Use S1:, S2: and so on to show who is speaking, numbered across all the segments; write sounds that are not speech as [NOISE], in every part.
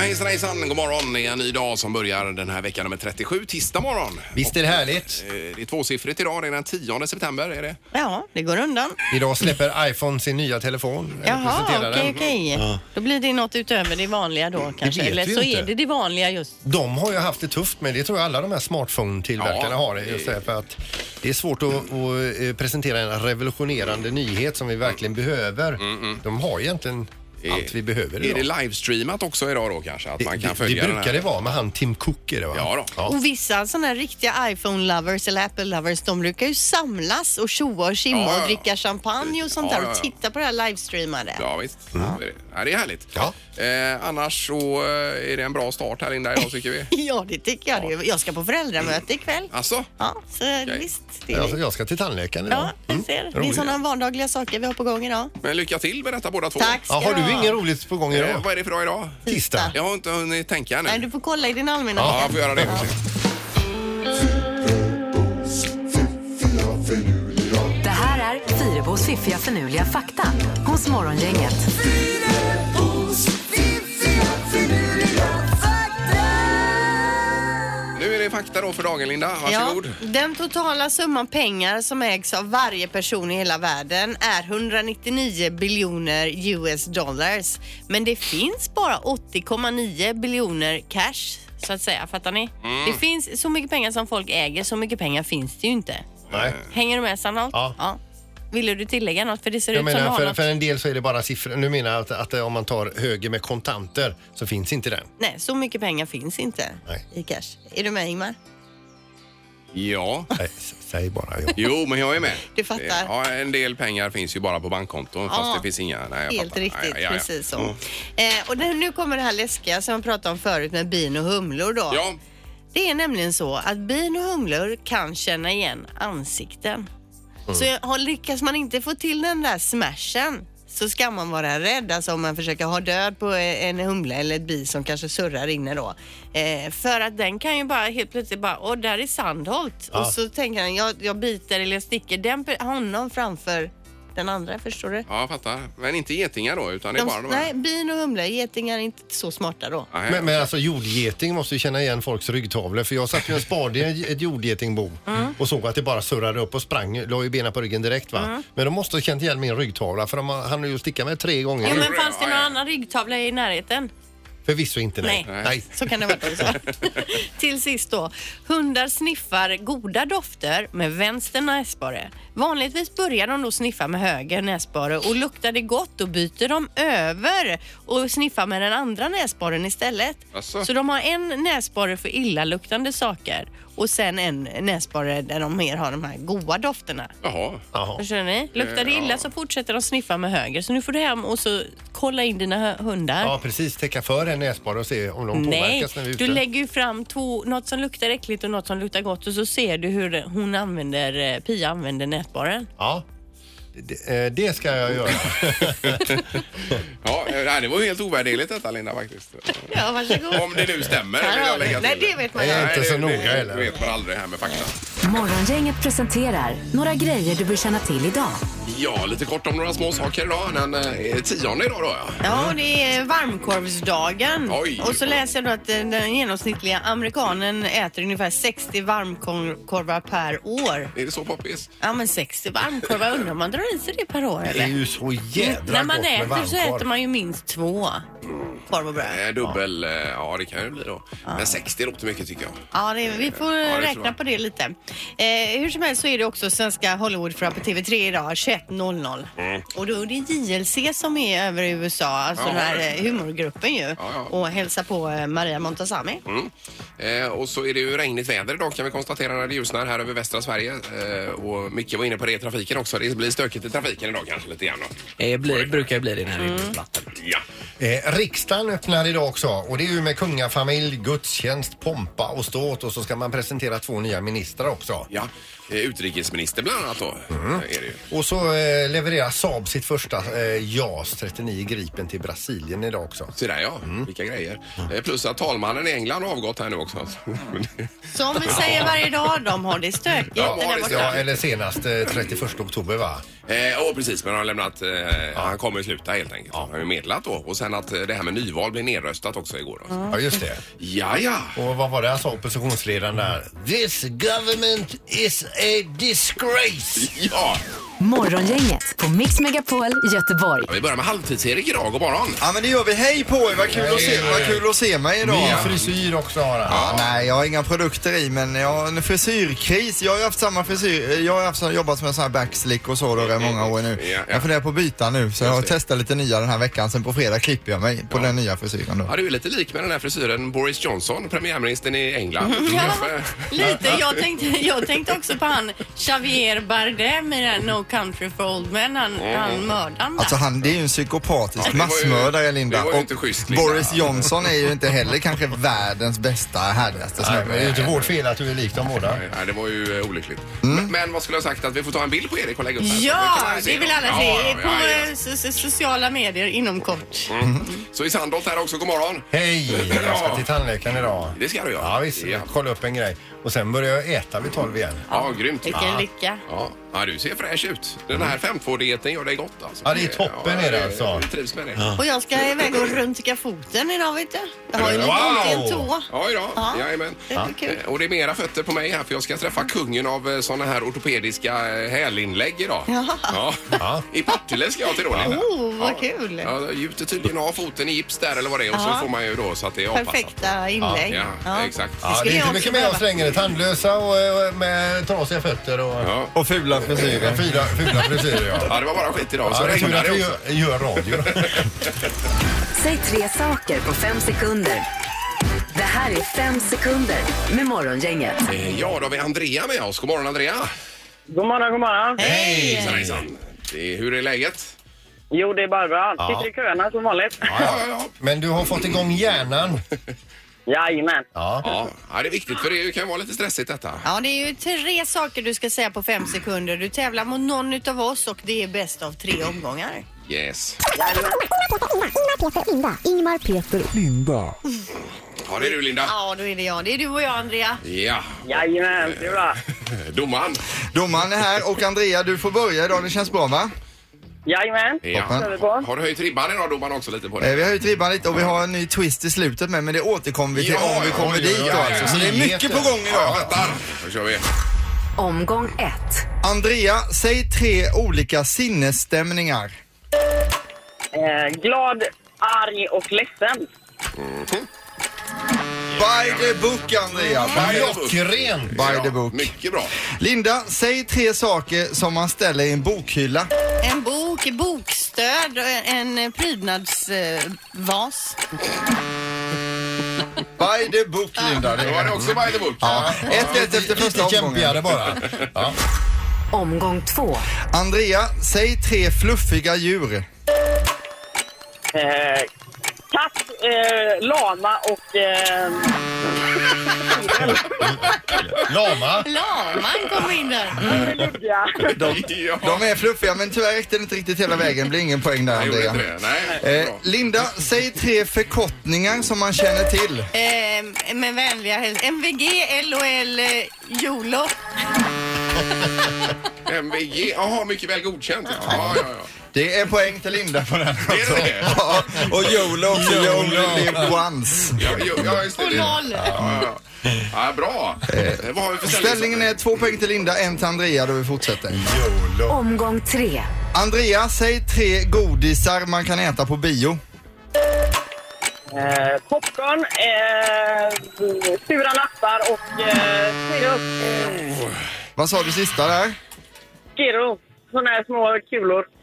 S1: Hejsan hejsan, god morgon. Det är en ny dag som börjar den här veckan nummer 37, tisdag morgon.
S2: Visst är det härligt?
S1: Eh, Det är tvåsiffrigt idag, det är den 10 september. Är det?
S3: Ja, det går undan.
S2: Idag släpper iPhone sin nya telefon. eller
S3: Jaha, okej,
S2: presenterar den.
S3: okej. Då blir det något utöver det vanliga då kanske.
S2: vet
S3: Eller
S2: vi
S3: så
S2: inte.
S3: är det det vanliga just.
S2: De har ju haft det tufft med det tror jag alla de här smartphone-tillverkarna
S1: Ja,
S2: har. Just det, här, för att det är svårt att, att eh, presentera en revolutionerande nyhet som vi verkligen behöver. De har egentligen allt vi behöver
S1: Mm, Eh, Är det
S2: idag.
S1: livestreamat också idag då kanske? Att man kan
S2: det,
S1: följa
S2: det brukar
S1: den
S2: det
S1: här?
S2: vara med han Tim Cook är det va?
S1: Ja då.
S3: Och vissa sådana här riktiga iPhone-lovers eller Apple-lovers de brukar ju samlas och tjoa och tjimma
S1: Ja, ja, ja.
S3: och dricka champagne och sånt
S1: Ja,
S3: där
S1: ja,
S3: och
S1: ja.
S3: titta på det här livestreamade.
S1: Ja visst, det, är det. Ja, det är härligt.
S2: Ja.
S1: Eh, annars så eh, är det en bra start här inne idag tycker vi.
S3: [LAUGHS] Ja, det tycker jag. Det är- Jag ska på föräldramöte ikväll.
S1: Alltså?
S3: Ja, så visst. Det är
S2: Alltså, Mm. jag ska till tandläkaren idag. Mm.
S3: Ja, du ser. Det är
S2: roligt. Mm.
S3: sådana vardagliga saker vi har på gång idag.
S1: Men lycka till med detta båda två.
S3: Tack ska
S2: Ja, har du
S3: du ha.
S2: inget roligt på gång
S1: Eh,
S2: idag?
S1: vad är det för dag idag?
S2: Tisdag.
S1: Jag har inte hunnit tänka ännu.
S3: Nej, du får kolla i din almanacka.
S1: Ja, jag får göra det.
S4: Det här är Fyrabos fiffiga förnuliga fakta hos Morgongänget.
S1: Nu är det fakta då för dagen Linda.
S3: Ja,
S1: Varsågod.
S3: den totala summan pengar som ägs av varje person i hela världen är 199 biljoner US dollars. Men det finns bara 80,9 biljoner cash så att säga. Fattar ni?
S2: Mm.
S3: Det finns så mycket pengar som folk äger, så mycket pengar finns det ju inte.
S2: Nej.
S3: Hänger du med Sannholt?
S2: Ja.
S3: Ville du tillägga något? För det ser
S2: Jag
S3: ut som du
S2: menar,
S3: har
S2: för,
S3: något.
S2: för en del så är det bara siffror. Nu menar jag att, att eh, om man tar höger med kontanter så finns inte den.
S3: Nej, så mycket pengar finns inte
S2: Nej.
S3: i cash. Är du med Ingmar?
S1: Ja.
S2: Nej, s- säg bara ja.
S1: Jo, men jag är med.
S3: Du fattar.
S1: Eh, Ja, en del pengar finns ju bara på bankkonton fast
S3: Ja.
S1: det finns inga. Nej, jag
S3: Helt
S1: fattar.
S3: riktigt,
S1: Ja, ja, ja.
S3: precis så.
S1: Mm.
S3: Eh, och det, nu kommer det här läskiga som jag pratade om förut med bin och humlor då.
S1: Ja,
S3: Det är nämligen så att bin och humlor kan känna igen ansikten.
S1: Mm.
S3: Så har- lyckas man inte få till den där smashen så ska man vara rädd, alltså om man försöker ha död på eh, en humla eller ett bi som kanske surrar inne då. Eh, för att den kan ju bara helt plötsligt bara, åh där är Sandholt.
S2: Ja.
S3: Och så tänker han, jag, jag biter eller jag sticker den, pe- honom framför den andra, förstår du?
S1: ja, jag fattar. Men inte getingar då, utan det är
S3: De-
S1: bara de här.
S3: nej, bin och humlor, getingar är inte så smarta då.
S1: Nej.
S2: Men, men alltså jordgeting måste ju känna igen folks ryggtavlor för jag satt ju en spade i ett jordgetingbo
S3: Mm.
S2: och såg att det bara surrade upp och sprang, la ju benen på ryggen direkt va.
S3: Mm.
S2: Men de måste ha känt igen min ryggtavla för de har- hann ju sticka mig tre gånger.
S3: Ja,
S1: gjorde
S3: men
S1: det,
S3: fanns det
S1: ja,
S3: någon
S1: ja.
S3: annan ryggtavla i närheten?
S2: Förvisso inte nej.
S3: Nej.
S2: nej.
S3: Så kan det vara [LAUGHS] också.
S1: [LAUGHS]
S3: Till sist då. Hundar sniffar goda dofter med vänster näsborre. Vanligtvis börjar de då sniffa med höger näsborre och luktar det gott då byter de över och sniffar med den andra näsborren istället.
S1: Asså?
S3: Så de har en näsborre för illaluktande saker och sen en näsborre där de mer har de här goda dofterna.
S1: Jaha.
S2: Jaha.
S3: Förstår ni? Luktar det
S1: Eh, ja.
S3: illa så fortsätter de sniffa med höger. Så nu får du hem och så kolla in dina hö- hundar.
S2: Ja precis, täcka för en näsborre och se om de
S3: Nej,
S2: påverkas när vi är ute.
S3: du lägger ju fram två, något som luktar äckligt och något som luktar gott och så ser du hur hon använder, eh, Pia använder nätborren.
S2: Ja. Det, eh, det ska jag
S3: [LAUGHS]
S2: göra.
S1: Ja, eh, nej, det var ju helt ovärderligt detta Linda faktiskt.
S3: Ja, varsågod.
S1: Om det nu stämmer
S3: Här
S1: vill
S3: har
S1: jag
S3: du.
S1: lägga till.
S3: Nej, det vet man
S2: Nej,
S3: inte.
S2: inte så
S1: det-
S2: noga
S1: det-
S2: heller.
S1: Det vet man aldrig här med fakta.
S4: Morgongänget presenterar några grejer du bör känna till idag.
S1: Ja, lite kort om några små saker idag. Den eh, tionde idag då ja.
S3: Ja, och det är varmkorvsdagen.
S1: Oj.
S3: Och så läser du att eh, den genomsnittliga amerikanen äter ungefär 60 varmkorvar per år.
S1: Är det så poppis?
S3: Ja, men 60 varmkorvar, undrar om man drar i sig det per år
S2: Det är
S3: eller?
S2: ju så jädra
S3: När man
S2: gott med
S3: äter så
S2: varmkorv.
S3: äter man ju minst två korv och bröd.
S1: Eh, dubbel, ja. ja det kan ju bli då. Men 60 låter mycket tycker jag.
S3: Ja, det, vi får
S1: det tror
S3: räkna
S1: jag.
S3: på det lite. Eh, hur som helst så är det också svenska Hollywoodfrappa på TV3 idag 21.00. Och då är det JLC som är över i USA, alltså
S1: Ja,
S3: den här
S1: det är
S3: eh, humorgruppen ju.
S1: ja.
S3: Och hälsar på eh, Maria Montazami.
S1: Mm. Eh, och så är det ju regnigt väder idag kan vi konstatera när det ljusnar här över västra Sverige. Eh, och mycket var inne på det i trafiken också. Det blir stökigt i trafiken idag kanske lite grann. då. Mm.
S5: Det Eh, blir, brukar bli det när det är vatten.
S1: Ja.
S2: Eh, riksdagen öppnar idag också och det är ju med kungafamilj, gudstjänst, pompa och ståt och så ska man presentera två nya ministrar också.
S1: ja. Eh, utrikesminister bland annat då.
S5: Mm.
S1: eh, Är det ju.
S2: Och så eh, levererar Saab sitt första eh, JAS 39 Gripen till Brasilien idag också.
S1: Så där ja,
S5: Mm.
S1: vilka grejer. Eh, plus att talmannen i England har avgått här nu också. [LAUGHS]
S3: Som vi säger varje dag, de har det stökigt
S1: Ja, har
S3: där
S1: det
S3: borta.
S2: Ja, eller senast eh, 31 oktober va?
S1: Eh, åh, precis, men han har lämnat... Eh, Han kommer sluta helt enkelt. Han har ju meddelat då. Och sen men att eh, det här med nyval blev nedröstat också igår. Då.
S5: Mm.
S2: Ja, just det.
S1: Ja, ja.
S2: Och vad var det han sa, oppositionsledaren där? This government is a disgrace!
S1: Ja,
S4: Morgongänget på Mix Megapol Göteborg.
S1: Ja, vi börjar med halvtids-Erik idag. God morgon!
S6: Ja men det gör vi. Hej på er, vad kul, att, se, vad kul att se mig idag.
S2: Ny frisyr också har han.
S6: Ja, nej, jag har inga produkter i men jag har en frisyrkris. Jag har ju haft samma frisyr, jag har ju haft, så- jobbat med sån här backslick och så då i många år nu.
S1: Mm. Ja, ja.
S6: Jag funderar på att byta nu så
S1: Just
S6: jag
S1: det.
S6: testar lite nya den här veckan. Sen på fredag klipper jag mig på den nya frisyren då.
S1: Ja, du är lite lik med den här frisyren Boris Johnson, premiärministern i
S3: [LAUGHS]
S1: England. Mm.
S3: Lite. Jag tänkte, jag tänkte också på han Xavier Bardem i den No Country for Old Men. Han, han mördaren där.
S6: Alltså han, det är ju en psykopatisk
S1: Ja, det var ju-
S6: massmördare Linda.
S1: det var ju
S6: Och
S1: inte schysst, Linda.
S6: Boris Johnson är ju inte heller kanske världens bästa, härligaste
S2: Nej, men det är ju
S6: snubbe.
S2: inte vårt fel att du är lik dem båda.
S1: Nej, det var ju eh, olyckligt.
S2: Mm.
S1: Men, men vad skulle jag ha sagt? Att vi får ta en bild på Erik och lägga upp här. kan
S3: Ja,
S1: man se
S3: det vill
S1: då.
S3: alla se.
S1: Ja,
S3: På
S1: ja, ja. Mm.
S3: eh, so- so- sociala medier inom kort.
S1: Så i Sandholt här också, god morgon.
S2: Hej! Jag ska till tandläkaren idag.
S1: Det ska du göra.
S2: Ja, visst.
S1: Ja.
S2: Kolla upp en grej. Och sen börjar jag äta vid tolv igen.
S1: Ja, grymt.
S3: Vilken lycka.
S1: Ja. ja, du ser fräsch ut. Den här 5.2-dieten gör dig gott alltså.
S2: Mm. Ja, det är toppen är det alltså.
S1: Du trivs med det.
S3: Och jag ska iväg och röntga foten idag vet du. Jag har ju lite
S2: Wow!
S3: ont i en tå.
S1: Ja, idag.
S3: Ja.
S1: Jajamän.
S3: Det är kul.
S1: Eh, Och det är mera fötter på mig här för jag ska träffa kungen av eh, såna här ortopediska eh, hälinlägg idag.
S3: Jaha.
S1: Ja. I Partille ska jag till då. Linda.
S3: Oh, vad kul.
S1: Ja, jag gjuter tydligen av foten i gips där eller vad det är och så
S3: Ja.
S1: får man ju då så att det är avpassat.
S3: Perfekta inlägg.
S1: Ja, exakt.
S2: Ja,
S3: skulle
S2: det är
S3: jag
S2: inte
S3: också
S2: mycket med oss
S3: behöva.
S2: längre. Tandlösa och eh, med trasiga fötter och
S1: Ja.
S6: Och fula frisyrer.
S2: fula, fula frisyrer. Ja.
S1: ja, det var bara skit idag.
S2: Ja,
S1: så
S2: det är tur
S1: regnade
S2: att
S1: det
S2: vi
S1: också.
S2: gör, gör radio.
S4: Säg tre saker på fem sekunder. Det här är fem sekunder med Morgongänget.
S1: Eh, Ja, då har vi Andrea med oss. God morgon Andrea.
S7: God morgon, god morgon.
S3: Eh,
S1: Hejsan, hejsan. Det- Hur är läget?
S7: Jo, det är Barbara.
S2: Ja.
S7: Sitter i köerna som vanligt.
S1: Ja, ja, ja.
S2: Men du har fått igång hjärnan.
S7: Jajamän.
S2: Ja.
S1: Ja, ja, det är viktigt för det kan vara lite stressigt detta.
S3: Ja, det är ju tre saker du ska säga på fem sekunder. Du tävlar mot någon utav oss och det är bäst av tre omgångar.
S1: Yes.
S8: Ingmar, Peter, Linda. Ingmar, Peter,
S1: Ja, det är du Linda.
S3: Ja, då är det jag. Det är du och jag, Andrea.
S1: Ja,
S7: Jajamän, det är bra.
S1: domaren.
S6: Domaren är här och Andrea du får börja idag, det känns bra va?
S7: Jajamän.
S1: Ja.
S7: Kör vi på.
S1: Har du höjt ribban idag domaren också lite på
S6: Eh,
S1: det?
S6: Vi har höjt ribban lite och vi har en ny twist i slutet med, men det återkommer vi till
S1: Ja,
S6: om vi
S1: ja,
S6: kommer
S1: oj,
S6: dit
S1: oj,
S6: då,
S1: oj,
S6: alltså.
S1: oj.
S6: Så det är mycket
S2: Nyheter.
S6: på gång
S1: Ja,
S6: idag.
S1: jag fattar. Då kör vi.
S4: Omgång ett.
S6: Andrea, säg tre olika sinnesstämningar.
S7: Eh, glad, arg och ledsen.
S6: By the book Andrea. By-
S2: Klockrent!
S6: By the
S1: Ja,
S6: book.
S1: Mycket bra.
S6: Linda, säg tre saker som man ställer i en bokhylla.
S3: En bok, bokstöd, en prydnadsvas.
S6: By the book Linda.
S1: Då var det också by the book.
S6: Ja, 1-1 efter första
S2: Lite
S6: omgången.
S2: kämpigare bara. Ja.
S4: Omgång två.
S6: Andrea, säg tre fluffiga djur.
S7: Eh, katt, eh, lama och... Eh,
S2: Lama.
S3: Laman kom in där.
S7: luddiga.
S1: [LAUGHS] Ja.
S6: De är fluffiga men tyvärr räckte det inte riktigt hela vägen. Det blir ingen poäng där
S1: Jag gjorde
S6: Andrea.
S1: inte det. Nej,
S6: Eh,
S1: bra.
S6: Linda, säg tre förkortningar som man känner till.
S3: Eh, med vänliga hälsningar. MVG, LOL, eh, Jolo.
S1: MVG. Jaha, mycket väl godkänt. Ja, ja, ja.
S6: Det är poäng till Linda på den
S1: Är [LAUGHS]
S6: också.
S1: det det?
S6: Ja, och YOLO också.
S2: YOLO.
S6: YOLO lived once.
S1: Ja, ja, ja, just det.
S3: Och
S1: Det-
S3: noll.
S1: Ja, ja, ja. ja, bra. Eh, Vad har vi för ställning?
S6: Ställningen är två poäng till Linda, en till Andrea då vi fortsätter.
S2: Jolo.
S4: Omgång tre.
S6: Andrea, säg tre godisar man kan äta på bio.
S7: Eh, popcorn, eh, sura lappar och... Eh, Skiro.
S6: Vad sa du sista där?
S7: Skiro. Såna här små kulor. [LAUGHS]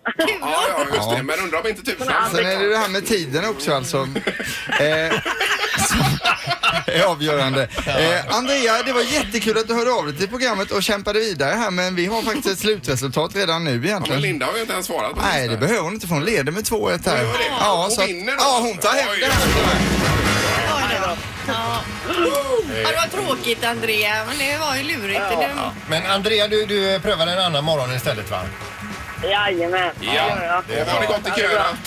S1: Ja, ja, just det.
S6: Ja.
S1: Men undrar om inte typ tusan.
S6: Sen är det det här med tiden också alltså. Eh, [LAUGHS] som är avgörande. Eh, Andrea, det var jättekul att du hörde av dig till programmet och kämpade vidare här men vi har faktiskt ett slutresultat redan nu
S1: Ja, men
S6: egentligen.
S1: Linda har ju inte ens svarat på
S6: Nej, det behöver hon inte för hon leder med 2-1 här.
S1: gör det.
S6: Ja,
S1: Hon
S6: så att,
S1: vinner då.
S6: ja, hon tar hem
S1: Oj.
S6: det här.
S3: Ja, ja. Ja, det var tråkigt Andrea, men det var ju lurigt. Det-
S2: Men Andrea, du, du prövar en annan morgon istället va?
S7: Jajamän.
S1: Ja, ja.
S7: Det
S1: Och har det gått i
S7: Ja, det är bra.
S1: köerna?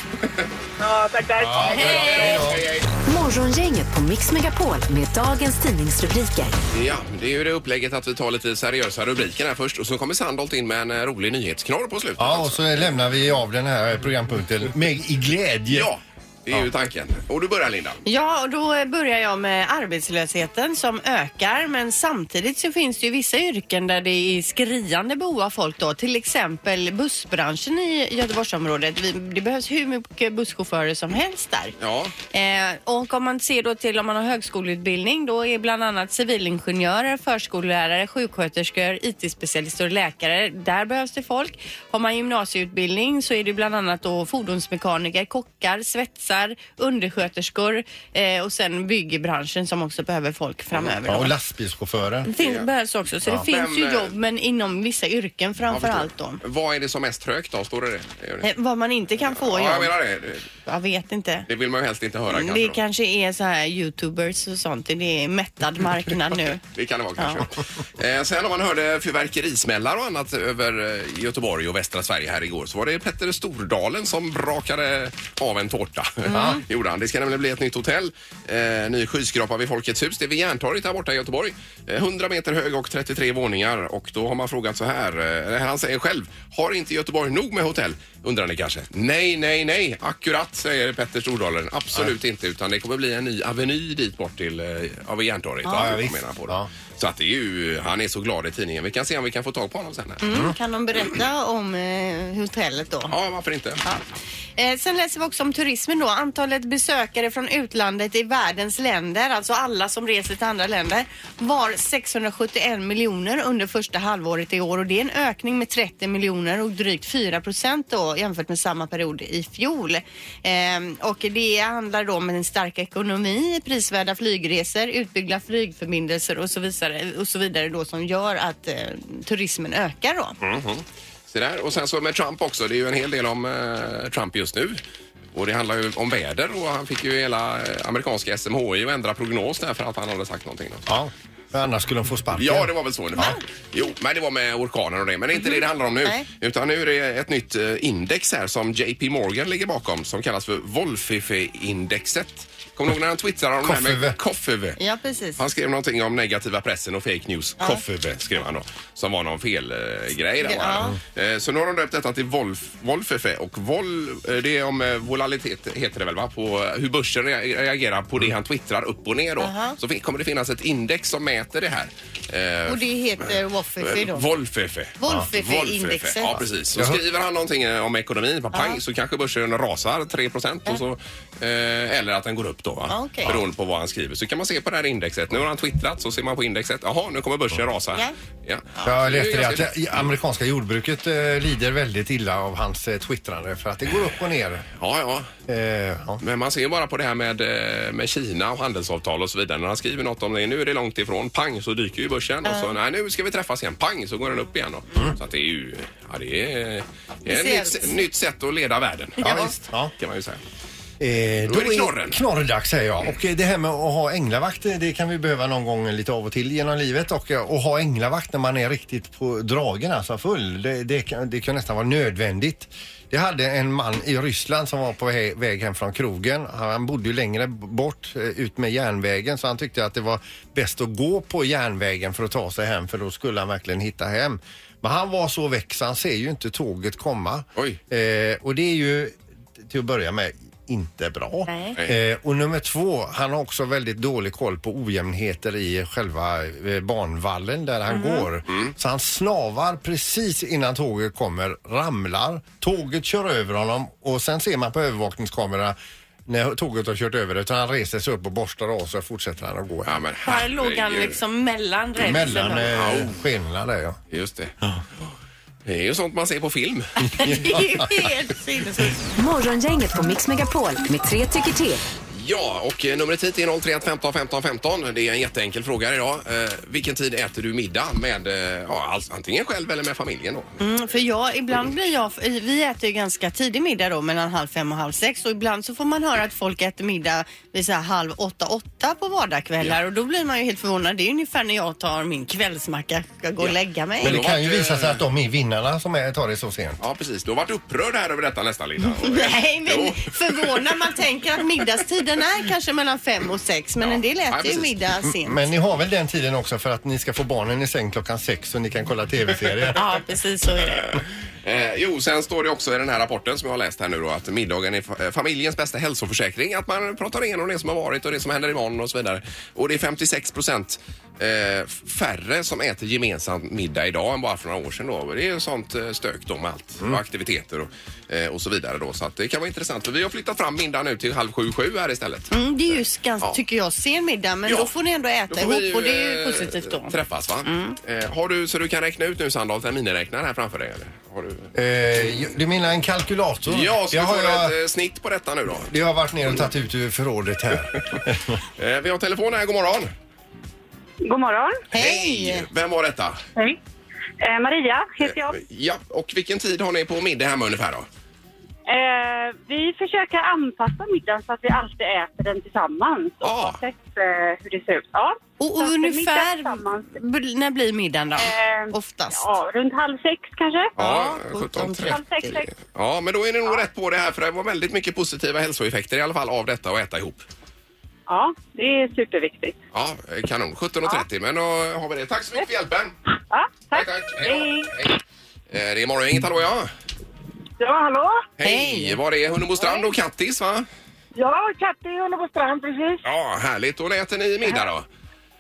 S7: Ja, tack, tack.
S1: Hej, hej,
S4: Morgongänget på Mix Megapol med dagens tidningsrubriker.
S1: hej. Ja, det är ju det upplägget att vi tar lite seriösa rubriker här först och så kommer Sandholt in med en eh, rolig nyhetsknorr på slutet. alltså.
S2: Ja, och så lämnar vi av den här programpunkten med i glädje.
S1: Ja. Det är ju tanken. Och du börjar Linda.
S3: Ja, och då eh, börjar jag med arbetslösheten som ökar men samtidigt så finns det ju vissa yrken där det är skriande behov av folk då. Till exempel bussbranschen i Göteborgsområdet. Vi- Det behövs hur mycket busschaufförer som helst där.
S1: Ja.
S3: Eh, och om man ser då till om man har högskoleutbildning då är bland annat civilingenjörer, förskollärare, sjuksköterskor, IT-specialister och läkare. Där behövs det folk. Har man gymnasieutbildning så är det bland annat då fordonsmekaniker, kockar, svetsar, undersköterskor eh, och sen byggbranschen som också behöver folk framöver.
S2: Ja,
S3: då.
S2: och lastbilschaufförer.
S3: Det finns, behövs också, så det finns
S1: Men,
S3: ju
S1: eh,
S3: jobb men inom vissa yrken
S1: jag
S3: framför
S1: förstår.
S3: allt då.
S1: Vad är det som mest högt då? Står det det? Det gör det.
S3: Eh, vad man inte kan få
S1: Ja, jag
S3: jobb.
S1: menar det.
S3: Jag vet inte.
S1: Det vill man ju helst inte höra
S3: Mm,
S1: kanske.
S3: Det
S1: då.
S3: kanske är så här youtubers och sånt. Det är mättad marknad nu.
S1: Det kan det vara
S3: Ja.
S1: kanske. Eh, sen om man hörde fyrverkerismällar och annat över eh, Göteborg och västra Sverige här igår så var det Petter Stordalen som brakade av en tårta.
S2: Mm.
S1: Gjorde han. [LAUGHS] Det ska nämligen bli ett nytt hotell. Eh, ny skyskrapa vid Folkets hus. Det är vid Järntorget här borta i Göteborg. Eh, 100 meter hög och 33 våningar. Och då har man frågat så här. Eh, eller han säger själv. Har inte Göteborg nog med hotell? Undrar ni kanske? Nej, nej, nej. Akkurat säger Petter Stordalen. Absolut inte. Utan det kommer bli en ny aveny dit bort till eh, ja, vid Järntorget.
S2: Ja,
S1: Jag
S2: visst.
S1: menar på det.
S2: Ja.
S1: Så att det är ju, han är så glad i tidningen. Vi kan se om vi kan få tag på honom sen. Här.
S3: Mm. Kan de berätta om eh, hotellet då?
S1: Ja, varför inte?
S3: Eh, sen läser vi också om turismen då. Antalet besökare från utlandet i världens länder, alltså alla som reser till andra länder, var 671 miljoner under första halvåret i år och det är en ökning med 30 miljoner och drygt 4 procent då jämfört med samma period i fjol. Eh, och det handlar då om en stark ekonomi, prisvärda flygresor, utbyggda flygförbindelser och så vidare, och så vidare då som gör att eh, turismen ökar då.
S1: Se där. Och sen så med Trump också. Det är ju en hel del om eh, Trump just nu. Och det handlar ju om väder och han fick ju hela eh, amerikanska SMHI att ändra prognos där för att han hade sagt någonting. Då.
S2: Ja, för annars skulle de få sparken.
S1: Ja, det var väl så ungefär. Jo, men det var med orkaner och det. Men det är inte det det handlar om nu.
S3: Nej.
S1: Utan nu är det ett nytt eh, index här som JP Morgan ligger bakom som kallas för Wolfife-indexet. Kommer du ihåg när han twittrade om det här med
S2: Koffeve.
S1: Koffeve?
S3: Ja, precis.
S1: Han skrev någonting om negativa pressen och fake news. Ja. skrev han då. Som var någon fel eh, grej där va? eh, Så nu har de döpt detta till Wolf, Wolfefe och Vol, eh, det är om eh, volalitet heter det väl va? På eh, hur börsen rea- reagerar på
S3: Mm.
S1: det han twittrar upp och ner då. Så fin- kommer det finnas ett index som mäter det här. Eh,
S3: Och det heter
S2: E.
S3: Waffifi då?
S1: Wolfefe.
S3: Wolfefe
S1: Ja,
S3: E indexet.
S1: E. Ja, precis. Så skriver han någonting eh, om ekonomin, va, pang, så kanske börsen rasar 3 och så, eh, eller att den går upp då. Va?
S3: Ja, okej.
S1: Beroende på vad han skriver. Så kan man se på det här indexet. Nu har han twittrat så ser man på indexet. Jaha, nu kommer börsen rasa.
S3: Ja.
S1: Ja.
S2: Jag läste
S1: är
S2: det att
S1: ganska-
S2: det amerikanska jordbruket eh, lider väldigt illa av hans eh, twittrande för att det går upp och ner.
S1: Ja, ja.
S2: Eh, ja.
S1: Men man ser ju bara på det här med, eh, med Kina och handelsavtal och så vidare. När han skriver något om det, nu är det långt ifrån, pang så dyker ju börsen och så nej, nu ska vi träffas igen, pang så går den upp igen. Då. Så att det är ju, ja det är, det är ett
S3: Speciellt.
S1: nytt, nytt sätt att leda världen.
S2: Ja, visst. Ja.
S1: Kan man ju säga.
S2: Eh,
S1: Då är det knorren.
S2: Knorrdags säger jag. Och eh, det här med att ha änglavakt, eh, det kan vi behöva någon gång lite av och till genom livet. Och eh, att ha änglavakt när man är riktigt på dragen, alltså full, det, det, kan, det kan nästan vara nödvändigt. Det hade en man i Ryssland som var på he- väg hem från krogen. Han bodde ju längre bort eh, ut med järnvägen så han tyckte att det var bäst att gå på järnvägen för att ta sig hem för då skulle han verkligen hitta hem. Men han var så väck så han ser ju inte tåget komma.
S1: Oj.
S2: Eh, och det är ju till att börja med inte bra.
S1: Nej.
S2: Eh, och nummer två, han har också väldigt dålig koll på ojämnheter i själva eh, banvallen där han
S1: Mm.
S2: går. Så han snavar precis innan tåget kommer, ramlar, tåget kör över honom och sen ser man på övervakningskamera när tåget har kört över det, utan han reser sig upp och borstar av sig och fortsätter han att gå.
S1: Ja, men
S3: Här låg han
S1: herregud.
S3: liksom mellan rälsen.
S2: Mellan
S3: och-
S2: eh, skenorna där ja.
S1: Just det. Det är ju sånt man ser på film.
S3: [LAUGHS] [LAUGHS] Det är ju helt sinnessjukt.
S4: Morgongänget på Mix Megapol med tre tycker till.
S1: Ja, och eh, numret hit är 031 15 15 15. Det är en jätteenkel fråga idag. Eh, vilken tid äter du middag med, eh, ja, alltså, antingen själv eller med familjen då?
S3: Mm, för jag, ibland blir jag, vi äter ju ganska tidig middag då mellan halv fem och halv sex och ibland så får man höra att folk äter middag vid så här halv åtta, åtta på vardagskvällar och då blir man ju helt förvånad. Det är ungefär när jag tar min kvällsmacka, ska gå och lägga mig.
S2: Men det
S1: då
S2: kan
S1: vart
S2: ju
S1: det-
S2: visa sig att de är vinnarna som är, tar det så sent.
S1: Ja, precis. Du har varit upprörd här över detta nästan, Linda.
S3: [LAUGHS] Nej, men
S1: Jo.
S3: förvånad. Man tänker att middagstiden är kanske mellan fem och sex, men
S1: Ja.
S3: en del
S1: Ja,
S3: äter ju
S1: precis. Mm,
S3: middag sent.
S2: Men ni har väl den
S1: [LAUGHS]
S2: tiden också för att ni ska få barnen i säng klockan sex så ni kan kolla tv-serier?
S3: Ja, precis så är det.
S1: Eh, jo, sen står det också i den här rapporten som jag har läst här nu då att middagen är fa- eh, familjens bästa hälsoförsäkring. Att man pratar igenom det som har varit och det som händer imorgon och så vidare. Och det är 56 procent eh, färre som äter gemensam middag idag än bara för några år sedan då. Det är ju sånt eh, stök då med allt och aktiviteter och, eh, och så vidare då. Så att det kan vara intressant för vi har flyttat fram middagen nu till halv sju, sju här istället.
S3: Mm, det är ju ganska, tycker jag, sen middag men
S1: Ja.
S3: då får ni ändå
S1: Då
S3: äta
S1: får vi
S3: ihop och det är ju
S1: eh,
S3: positivt då. Mm.
S1: Träffas va? Eh, har du så du kan räkna ut nu Sandholt, en miniräknare här framför dig eller? Har du...
S2: Eh, du menar en kalkylator?
S1: Ja, ska
S2: jag
S1: vi
S2: har,
S1: få
S2: jag,
S1: ett eh, snitt på detta nu då?
S2: jag har varit ner och tagit ut ur förrådet här.
S1: Eh, vi har telefon här, god morgon.
S7: God morgon.
S3: Hej!
S1: Vem var detta?
S7: Hej. Eh, Maria heter jag.
S1: Ja, och vilken tid har ni på middag hemma ungefär då?
S7: Eh, vi försöker anpassa middagen så att vi alltid äter den tillsammans. Och
S1: Ja.
S7: har sett eh, hur det ser ut. Ja.
S3: Och, och
S7: Så att middag
S3: ungefär,
S7: tillsammans,
S3: b- när blir middagen då?
S7: eh,
S3: Oftast.
S7: Ja, runt halv sex kanske.
S1: Ja,
S3: 17.30.
S7: Halv sex, sex.
S1: Ja, men då är ni nog rätt på det här för det var väldigt mycket positiva hälsoeffekter i alla fall av detta att äta ihop.
S7: Ja, det är superviktigt.
S1: Ja, eh, kanon. 17.30, men då har vi det. Tack så mycket för hjälpen.
S7: Ja, tack.
S1: Hej.
S7: Hej.
S1: Hej. Eh, Det är Morgongänget, hallå ja.
S7: Ja, hallå?
S1: Hej! Var det Hunnebostrand och Kattis va?
S7: Ja, Katti håller på strand precis.
S1: Ja, härligt. Och när äter ni middag då?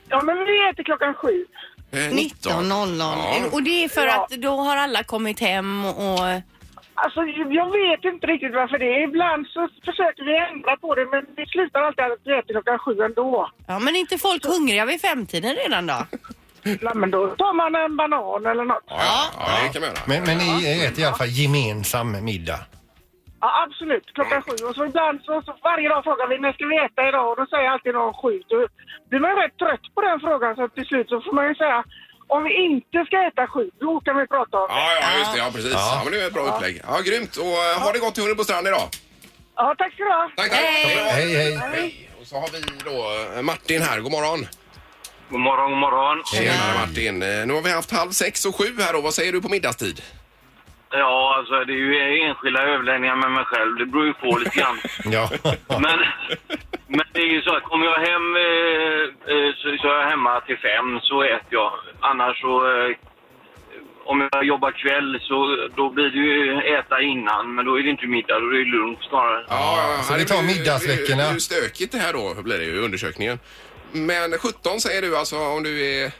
S7: Ja, men vi äter klockan sju.
S1: Eh,
S3: 19.00.
S1: Ja.
S3: Och det är för
S7: Ja.
S3: att då har alla kommit hem och...
S7: Alltså, jag vet inte riktigt varför det är. Ibland så försöker vi ändra på det, men vi slutar alltid att vi äter klockan sju ändå.
S3: Ja, men är inte folk hungriga vid femtiden redan
S7: [LAUGHS]
S3: då?
S7: Nej, men då tar man en banan eller något.
S1: Ja, ja, ja, det kan man göra.
S2: Men, men ni äter i alla fall gemensam middag.
S7: Ja, absolut. Klockan sju. Och så ibland så, så varje dag frågar vi när ska vi äta idag? Och då säger alltid någon sju. Då blir man ju rätt trött på den frågan så till slut så får man ju säga om vi inte ska äta sju, då kan vi prata om det.
S1: Ja, ja, just det. Ja, precis. Ja. men det är ett bra upplägg. Ja, grymt. Och eh, ha det gott i Hunnebostrand idag.
S7: Ja, tack ska du ha.
S1: Tack, tack. Hej.
S2: Hej, hej.
S1: Hej. Och så har vi då eh, Martin här. God morgon.
S9: God morgon, god morgon.
S1: Tjenare Martin. Eh, Nu har vi haft halv sex och sju här då. Vad säger du på middagstid?
S9: Ja, alltså det är ju enskilda överläggningar med mig själv. Det beror ju på lite grann.
S2: Ja.
S9: Men, men det är ju så att kommer jag hem eh, eh, så, så är jag hemma till fem, så äter jag. Annars så... Eh, om jag jobbar kväll så då blir det ju äta innan, men då är det inte middag, då är det lunch snarare.
S1: Ja,
S2: så
S1: ja,
S2: vi
S1: det
S2: tar
S1: blir ju-
S2: middagsveckorna.
S1: Det är ju stökigt det här då, blir det ju, i undersökningen. Men 17 säger du alltså om du är...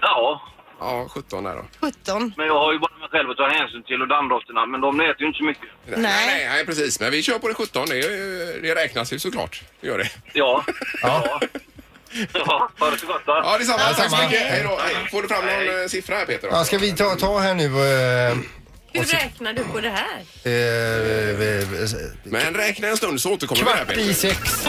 S9: Ja,
S1: Ja, 17 där då.
S3: 17.
S9: men jag har ju bara mig själv att ta hänsyn till och dammdofterna, men de äter ju inte så mycket.
S1: Nej. nej, nej, precis. Men vi kör på det 17. Det, är ju- det räknas ju såklart. Det gör det.
S9: Ja.
S2: Ja.
S9: Ja, ha det så gott va?
S1: Ja, detsamma. Tack så
S2: samma.
S1: mycket. Hej då. Hej. Får du fram någon eh, siffra här Peter?
S2: ja, ska vi ta, ta här nu... Eh,
S3: Hur räknar du på det här?
S2: eh, eh,
S1: Men räkna en stund så återkommer vi här
S2: kvart i
S1: Peter.
S2: sex.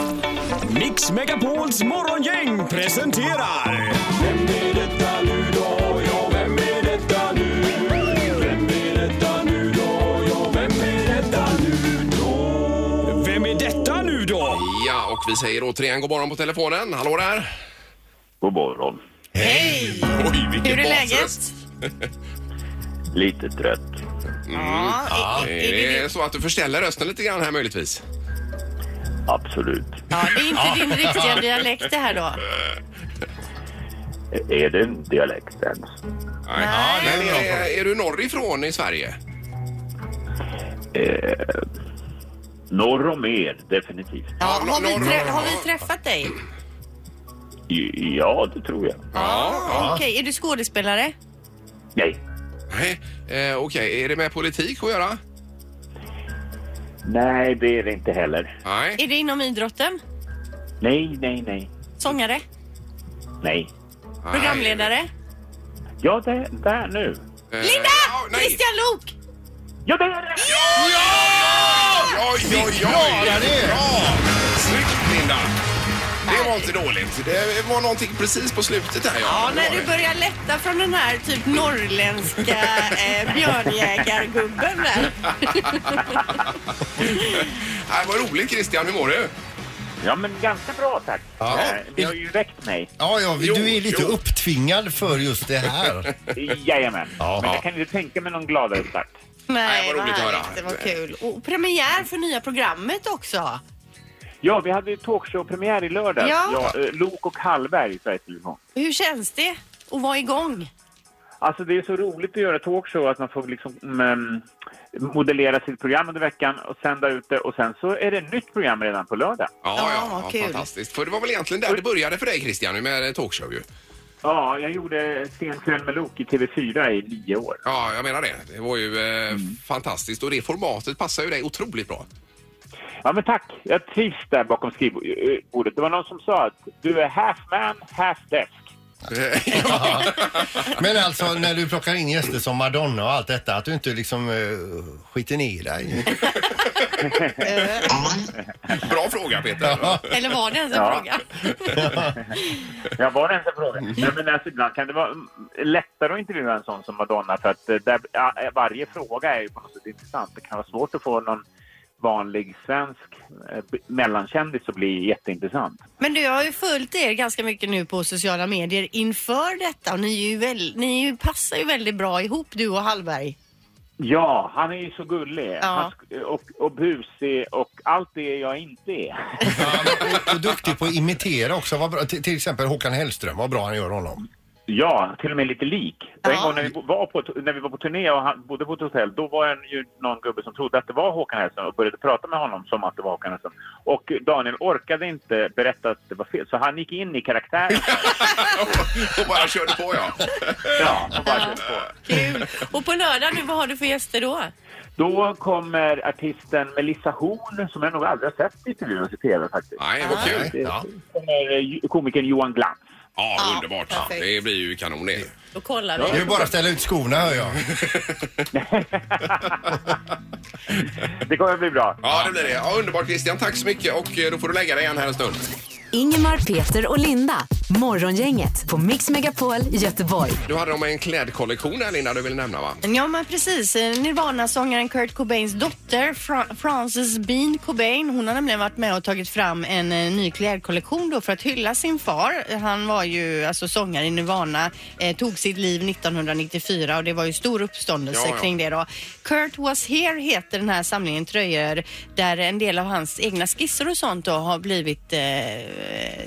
S10: Mix Megapols morgongäng presenterar... Vem är detta nu då? Ja, vem är detta nu? Vem är detta nu då? Ja, vem är detta nu då? Vem är detta nu då?
S1: Ja, och vi säger återigen god morgon på telefonen. Hallå där!
S9: God morgon.
S3: Hej!
S1: Oj, vilken
S3: Hur är
S1: basröst.
S3: läget?
S9: Lite trött.
S1: Mm.
S3: Ja, är, är det,
S1: Är
S3: din-
S1: det så att du förställer rösten lite grann här möjligtvis?
S9: Absolut.
S3: ja, det är inte din riktiga
S1: [LAUGHS]
S3: dialekt det här då?
S9: Är det en dialekt ens?
S1: Nej. Men är, är du norrifrån i Sverige?
S9: Eh, Norr om er, definitivt.
S3: Ja,
S1: Ja,
S3: har, vi
S1: norr-
S3: trä- har vi träffat dig?
S9: I- Ja, det tror jag.
S3: Okej, är du skådespelare?
S9: Nej.
S1: Nej. Eh, Okej, är det med politik att göra?
S9: Nej, det är det inte heller.
S1: Nej.
S3: Är det inom idrotten?
S9: Nej, nej, nej.
S3: Sångare?
S9: Nej.
S3: Programledare?
S9: Ja, det där nu.
S1: Eh,
S3: Linda!
S1: ja, nej.
S3: Kristian Lok!
S9: Ja, det är det!
S1: Ja! Ja, ja, ja!
S2: klarar det!
S1: Bra! Snyggt, Linda! Det var inte dåligt. Det var någonting precis på slutet där.
S3: Ja,
S1: det
S3: när
S1: var [LAUGHS]
S3: du
S1: det.
S3: börjar lätta från den här
S1: [LAUGHS]
S3: typ norrländska eh, björnjägargubben där.
S1: Nej, Äh, Vad roligt, Christian. Hur mår du?
S9: Ja, men ganska bra tack.
S2: Ja.
S9: Eh, Ni har ju väckt mig.
S2: Ja, ja, vi-
S1: Jo,
S2: du är lite
S1: jo.
S2: upptvingad för just det här.
S9: Jajamän.
S2: Ja.
S9: Men jag kan ju tänka mig någon gladare start.
S1: [LAUGHS] Nej, vad roligt att höra.
S3: härligt, Det var kul. Och premiär för nya programmet också.
S9: Ja, vi hade ju talkshow-premiär i lördags.
S3: Ja.
S9: eh, Lok och Hallberg i Sveriges Television.
S3: Hur känns det att vara igång?
S9: Alltså det är så roligt att göra talkshow att man får liksom mm, modellera sitt program under veckan och sända ut det och sen så är det ett nytt program redan på lördag.
S1: Ja, ja, ja fantastiskt. För det var väl egentligen där det började för dig Christian, ju med eh, talkshow ju.
S9: Ja, jag gjorde Sen kväll med Lok i TV4 i nio år.
S1: Ja, jag menar det. Det var ju eh, fantastiskt och det formatet passar ju dig otroligt [LAUGHS] bra.
S9: Ja, men tack. Jag trivs där bakom skrivbordet. Det var någon som sa att du är half man, half desk.
S2: Men alltså när du plockar in gäster som Madonna och allt detta, att du inte liksom uh, skiter
S1: [LAUGHS]
S2: ner dig.
S1: Bra fråga Peter.
S11: Eller var det ens en fråga?
S9: Ja, var det ens en fråga? Nej, men alltså, ibland kan det vara lättare att intervjua en sån som Madonna för att eh, där, ja, varje fråga är ju på något sätt intressant. Det kan vara svårt att få någon vanlig svensk eh, b- mellankändis att bli jätteintressant.
S3: Men du, jag har ju följt er ganska mycket nu på sociala medier inför detta och ni, är ju väl, ni är ju, passar ju väldigt bra ihop du och Hallberg.
S9: Ja, han är ju så gullig Han sk- och, och busig och allt det jag inte är. [LAUGHS]
S2: Och, och duktig på att imitera också. Vad bra, till, till exempel Håkan Hellström, vad bra han gör honom.
S9: Ja, till och med lite lik. Och En gång när vi, bo- var på, när vi var på turné och han bodde på ett hotell, då var det ju någon gubbe som trodde att det var Håkan Hellström och började prata med honom som att det var Håkan Hellström. Och Daniel orkade inte berätta att det var fel, så han gick in i karaktären.
S1: och bara körde på, ja.
S9: ja, och bara körde på.
S11: Kul. Och på lördag nu, vad har du för gäster då?
S9: Då kommer artisten Melissa Horn, som jag nog aldrig har sett intervjuas i TV faktiskt.
S1: Nej, vad kul.
S9: Ja. kommer eh, ju- komikern
S1: [LAUGHS]
S9: Johan Glans.
S1: Ja, underbart. Det blir ju kanon det.
S11: Då kollar
S2: Det är
S11: vi.
S2: ju bara att ställa ut skorna hör jag.
S9: Det kommer bli bra.
S1: Ja, det blir det. Ja, underbart Christian. Tack så mycket och eh, då får du lägga dig igen här en stund.
S4: Ingemar, Peter och Linda. Morgongänget på Mix Megapol Göteborg.
S1: Du hade om en klädkollektion där Linda du ville nämna va?
S3: Ja men precis, Eh, Nirvana-sångaren Kurt Cobains dotter Fra- Frances Bean Cobain, hon har nämligen varit med och tagit fram en eh, ny klädkollektion då för att hylla sin far. Han var ju alltså sångare i Nirvana, eh, tog sitt liv 1994 och det var ju stor uppståndelse
S11: Ja, ja.
S3: kring det då. Kurt Was Here heter den här samlingen tröjor där en del av hans egna skisser och sånt då har blivit eh,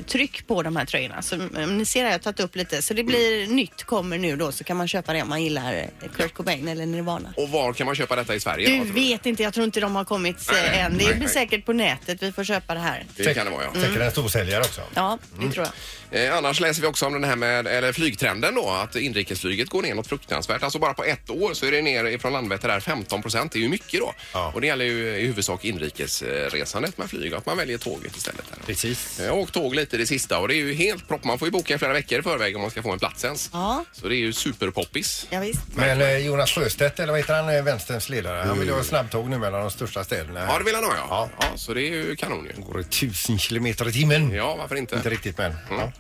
S3: tryck på de här tröjorna. Så mm, ni ser här, jag har tagit upp lite. Så det blir nytt kommer nu då så kan man köpa det om man gillar eh, Kurt Cobain eller Nirvana.
S1: Och var kan man köpa detta i Sverige? då,
S3: Du
S1: tror
S3: vet inte, jag tror inte de har kommit eh,
S1: Nej,
S3: än. Det
S1: nej,
S3: blir
S1: nej.
S3: säkert på nätet. Vi får köpa det här.
S1: du? Det kan det vara
S3: Mm.
S1: ja.
S2: Säkert en storsäljare också.
S3: Ja, det tror jag.
S1: Eh, annars läser vi också om den här med eller flygtrenden då, att inrikesflyget går ner något fruktansvärt. Alltså bara på ett år så är det ner från Landvetter där 15 procent. Det är ju mycket då. Och det gäller ju i huvudsak inrikesresandet med flyg, att man väljer tåget istället. Där.
S2: Precis.
S1: Jag har åkt tåg lite det sista och det är ju helt propp. Man får ju boka i flera veckor i förväg om man ska få en plats ens.
S3: Ja,
S1: Så det är ju superpoppis.
S3: ja visst.
S2: Men eh, Jonas Sjöstedt, eller vad heter han, eh, vänsterns ledare, han vill ju ha snabbtåg nu mellan de största städerna.
S1: Ja, det vill han ha ja. ja. så det är ju kanon ju.
S2: Går det tusen kilometer i timmen?
S1: Ja, varför inte?
S2: Inte riktigt men. Ja.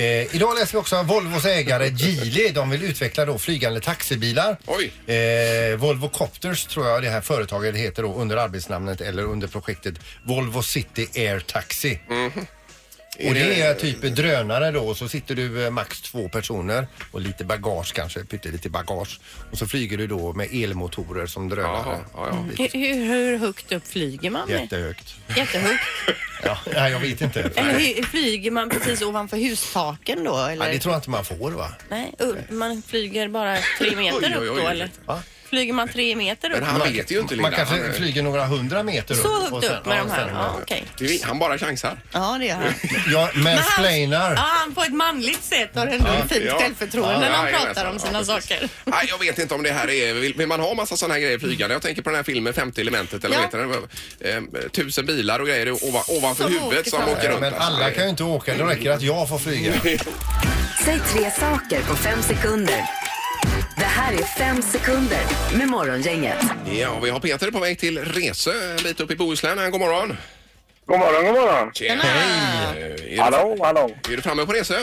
S2: Eh, idag läser vi också att Volvos ägare Geely, de vill utveckla då flygande taxibilar.
S1: Oj.
S2: Eh, Volvo Copters tror jag det här företaget heter då under arbetsnamnet eller under projektet Volvo City Air Taxi. Och det Mhm. är typ drönare då och så sitter du eh, max två personer och lite bagage kanske, pyttelite bagage. Och så flyger du då med elmotorer som drönare.
S11: Hur, hur, hur högt upp flyger man?
S2: Jättehögt.
S11: Jättehögt.
S2: [LAUGHS] Ja, nej, jag vet inte.
S11: Eller
S2: Nej.
S11: hur, flyger man precis ovanför hustaken då? Eller?
S2: Ja, det tror jag inte man får va?
S11: Nej, upp, man flyger bara tre meter
S2: Oj, oj,
S11: upp
S2: oj,
S11: då
S2: oj.
S11: eller? Flyger man tre meter upp?
S1: Men han vet ju inte
S2: Man
S1: Linda.
S2: kanske
S1: Han, eh,
S2: flyger några hundra meter upp.
S11: Så
S2: och
S11: högt
S2: sen-
S11: upp med
S2: ja,
S11: de här?
S2: sen-
S11: Ja, okej.
S1: Det är- Han bara chansar.
S3: Ja, det gör han.
S2: Jag
S11: Ja,
S2: mansplainar.
S11: han på ett manligt sätt har ändå
S1: Ja,
S11: ett fint
S1: ja.
S11: självförtroende
S1: Ja,
S11: när han
S1: jajamensan.
S11: pratar om sina
S1: Ja,
S11: saker.
S1: Nej, jag vet inte om det här är... Vill, vill man ha massa sådana här grejer flygande? Jag tänker på den här filmen Femte elementet eller
S11: Ja.
S1: vad heter den? Eh, tusen bilar och grejer ova, ovanför
S4: Som
S1: huvudet
S4: åker
S1: som
S4: fram.
S1: åker runt. Alltså,
S2: Men alla kan ju inte åka, det räcker att jag får flyga.
S4: Säg tre saker på fem sekunder. Det här är fem sekunder med Morgongänget.
S1: Ja, och vi har Peter på väg till Resö en bit upp i Bohuslän. God morgon!
S12: God morgon, god morgon.
S1: Tjena! Hej!
S12: Hallå, hallå.
S1: Är du framme på Resö?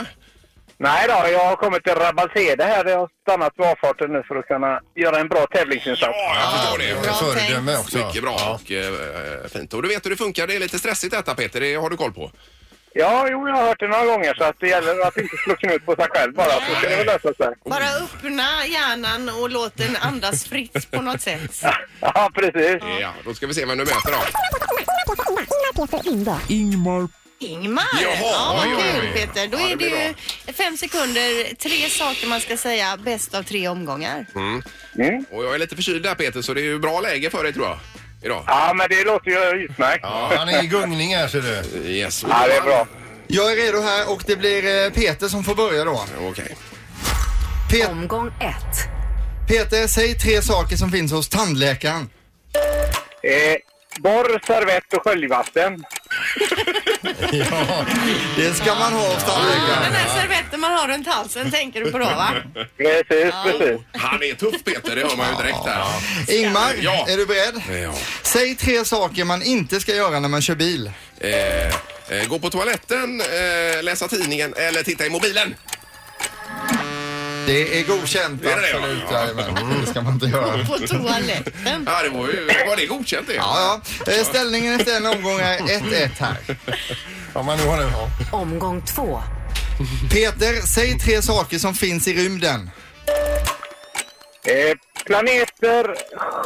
S12: Nej då, jag har kommit till Rabbalsede här. Jag har stannat vid avfarten nu för att kunna göra en bra tävlingsinsats.
S1: Ja, jag förstår det.
S2: Bra föredöme tänkt. också.
S1: Mycket bra och eh, fint. Och du vet hur det funkar. Det är lite stressigt detta Peter. Det har du koll på.
S12: Ja, jo, jag har hört det några gånger så att det gäller att inte slå knut på sig själv bara så ska det väl lösa
S9: [LAUGHS]
S12: sig.
S3: Bara öppna hjärnan och låt den andas fritt på något sätt.
S12: Ja, precis.
S1: Ja, då ska vi se vem du möter då.
S13: Ingmar, Peter, Linda.
S14: Ingmar,
S3: Ingmar!
S15: Jaha,
S3: ja, vad
S15: oj, oj,
S3: kul
S15: oj.
S3: Peter. Då
S15: Ja, det
S3: är det
S15: blir
S3: ju fem sekunder, tre saker man ska säga, bäst av tre omgångar.
S1: Mm. Och jag är lite förkyld där Peter, så det är ju bra läge för dig tror jag. Idag.
S9: Ja, men det låter ju utmärkt.
S2: Ja, han är i gungning här ser du.
S1: Yes.
S9: Ja, det är bra.
S6: Jag är redo här och det blir eh, Peter som får börja då.
S1: Okej.
S6: Omgång ett. Peter, säg tre saker som finns hos tandläkaren.
S9: Eh, borr, servett och sköljvatten.
S6: ja, det ska man ha hos
S3: Den
S6: tandläkaren.
S3: här servetten man har runt halsen tänker du på då va?
S9: Precis, precis.
S1: Han är tuff Peter, det hör man ju direkt där.
S6: Ingmar,
S1: Ja.
S6: är du beredd?
S1: Ja.
S6: Säg tre saker man inte ska göra när man kör bil.
S1: Eh, eh, gå på toaletten, eh, läsa tidningen eller titta i mobilen.
S6: Det är godkänt.
S1: Är det det?
S6: absolut. Jajamän, Det ska man inte göra.
S3: På toaletten.
S1: Ja, det var, ju, var det godkänt det?
S6: Ja, ja. Eh, Ställningen efter en omgång är 1-1 här.
S2: Om man nu har den. Ja.
S6: Omgång två. Peter, säg tre saker som finns i rymden.
S9: Eh, planeter,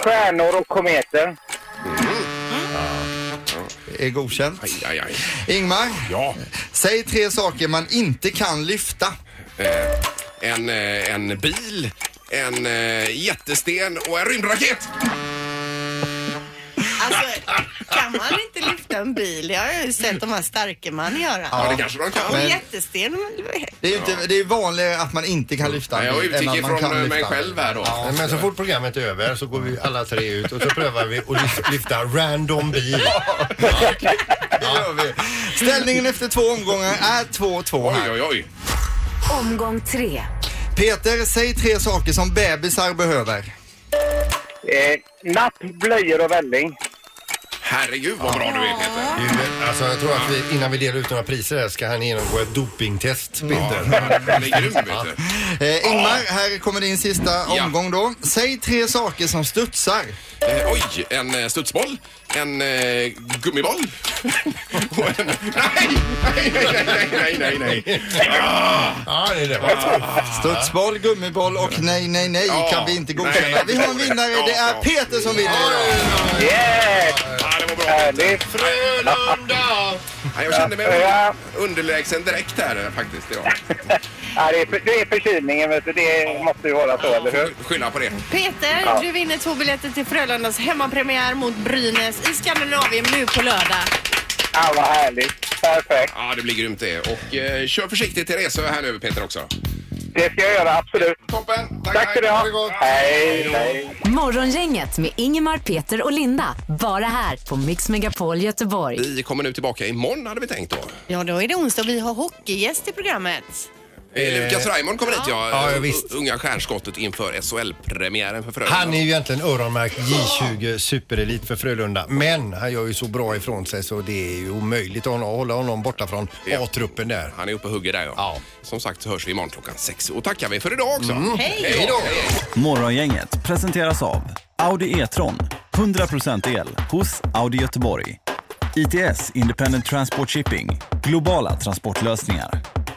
S9: stjärnor och kometer.
S6: Det är godkänt.
S1: Aj, aj, aj.
S6: Ingmar,
S1: ja.
S6: säg tre saker man inte kan lyfta.
S1: Eh, en, eh, en bil, en eh, jättesten och en rymdraket.
S3: Alltså, kan man inte lyfta en bil? Jag har ju sett de här Starkeman göra.
S6: Ja, det kanske de kan.
S3: Och
S6: Men-
S3: jättesten. men-
S6: Det är ju inte, det är vanligare att man inte kan lyfta.
S1: Nej, jag
S6: än att
S1: utgick
S6: man
S1: ifrån,
S6: kan
S1: eh, mig
S6: lyfta.
S1: själv här då.
S6: Ja.
S2: Men så fort programmet är över så går vi alla tre ut och så prövar vi att lyf- lyfta random bil.
S6: Ställningen efter två omgångar är 2-2 här.
S1: Oj, oj, oj.
S6: Omgång tre. Peter, säg tre saker som bebisar behöver.
S9: Eh, napp, blöjor och välling.
S1: Herregud vad bra du är Peter.
S2: Du, Alltså jag tror att vi, innan vi delar ut några priser här ska han genomgå ett dopingtest, Peter.
S1: Han är grym vet du.
S6: Eh, Ingmar, här kommer din sista
S1: Ja.
S6: omgång då. Säg tre saker som studsar.
S1: Eh, oj, en eh, studsboll, en eh, gummiboll [LAUGHS] och en... Nej, nej, nej, nej, nej, nej, nej. Ah!
S2: Ja, det är det.
S6: Studsboll, gummiboll och nej, nej, nej
S1: Ja,
S6: kan vi inte godkänna.
S1: nej.
S6: Vi har en vinnare. Det är Peter som vinner idag.
S9: Yes!
S1: Ja, det var bra.
S9: Härligt!
S2: Frölunda!
S1: Ja, jag kände mig under- underlägsen direkt här eh, faktiskt. Ja.
S9: Ja, det, är, för- det är förkylningen, vet du. Det måste ju vara så, eller hur?
S1: Skylla på det.
S3: Peter,
S9: Ja.
S3: du vinner två biljetter till Frölundas hemmapremiär mot Brynäs i Skandinavien nu på lördag.
S9: Ja, vad härligt. Perfekt.
S1: Ja, det blir grymt det. Och eh, kör försiktigt till resor här nu Peter också.
S9: Det ska jag göra, absolut.
S1: Toppen!
S9: Tack ska du ha! Hej, hej!
S4: Morgongänget med Ingemar, Peter och Linda. Bara här på Mix Megapol Göteborg.
S1: Vi kommer nu tillbaka imorgon hade vi tänkt då.
S3: Ja, då är det onsdag och vi har hockeygäst i programmet.
S1: Eh, Lukas Raymond kommer hit ja. Eh,
S2: Ja, ja, visst.
S1: U- Unga stjärnskottet inför SHL-premiären för Frölunda.
S2: Han är ju egentligen öronmärkt J20 superelit för Frölunda. Men han gör ju så bra ifrån sig så det är ju omöjligt att hålla honom borta från A-truppen där.
S1: Han är uppe och hugger där ja. Som sagt så hörs vi imorgon klockan sex. Och tackar vi för idag också.
S3: Hej då.
S1: Hej då!
S16: Morgongänget presenteras av Audi E-tron. 100% el hos Audi Göteborg. ITS Independent Transport Shipping. Globala transportlösningar.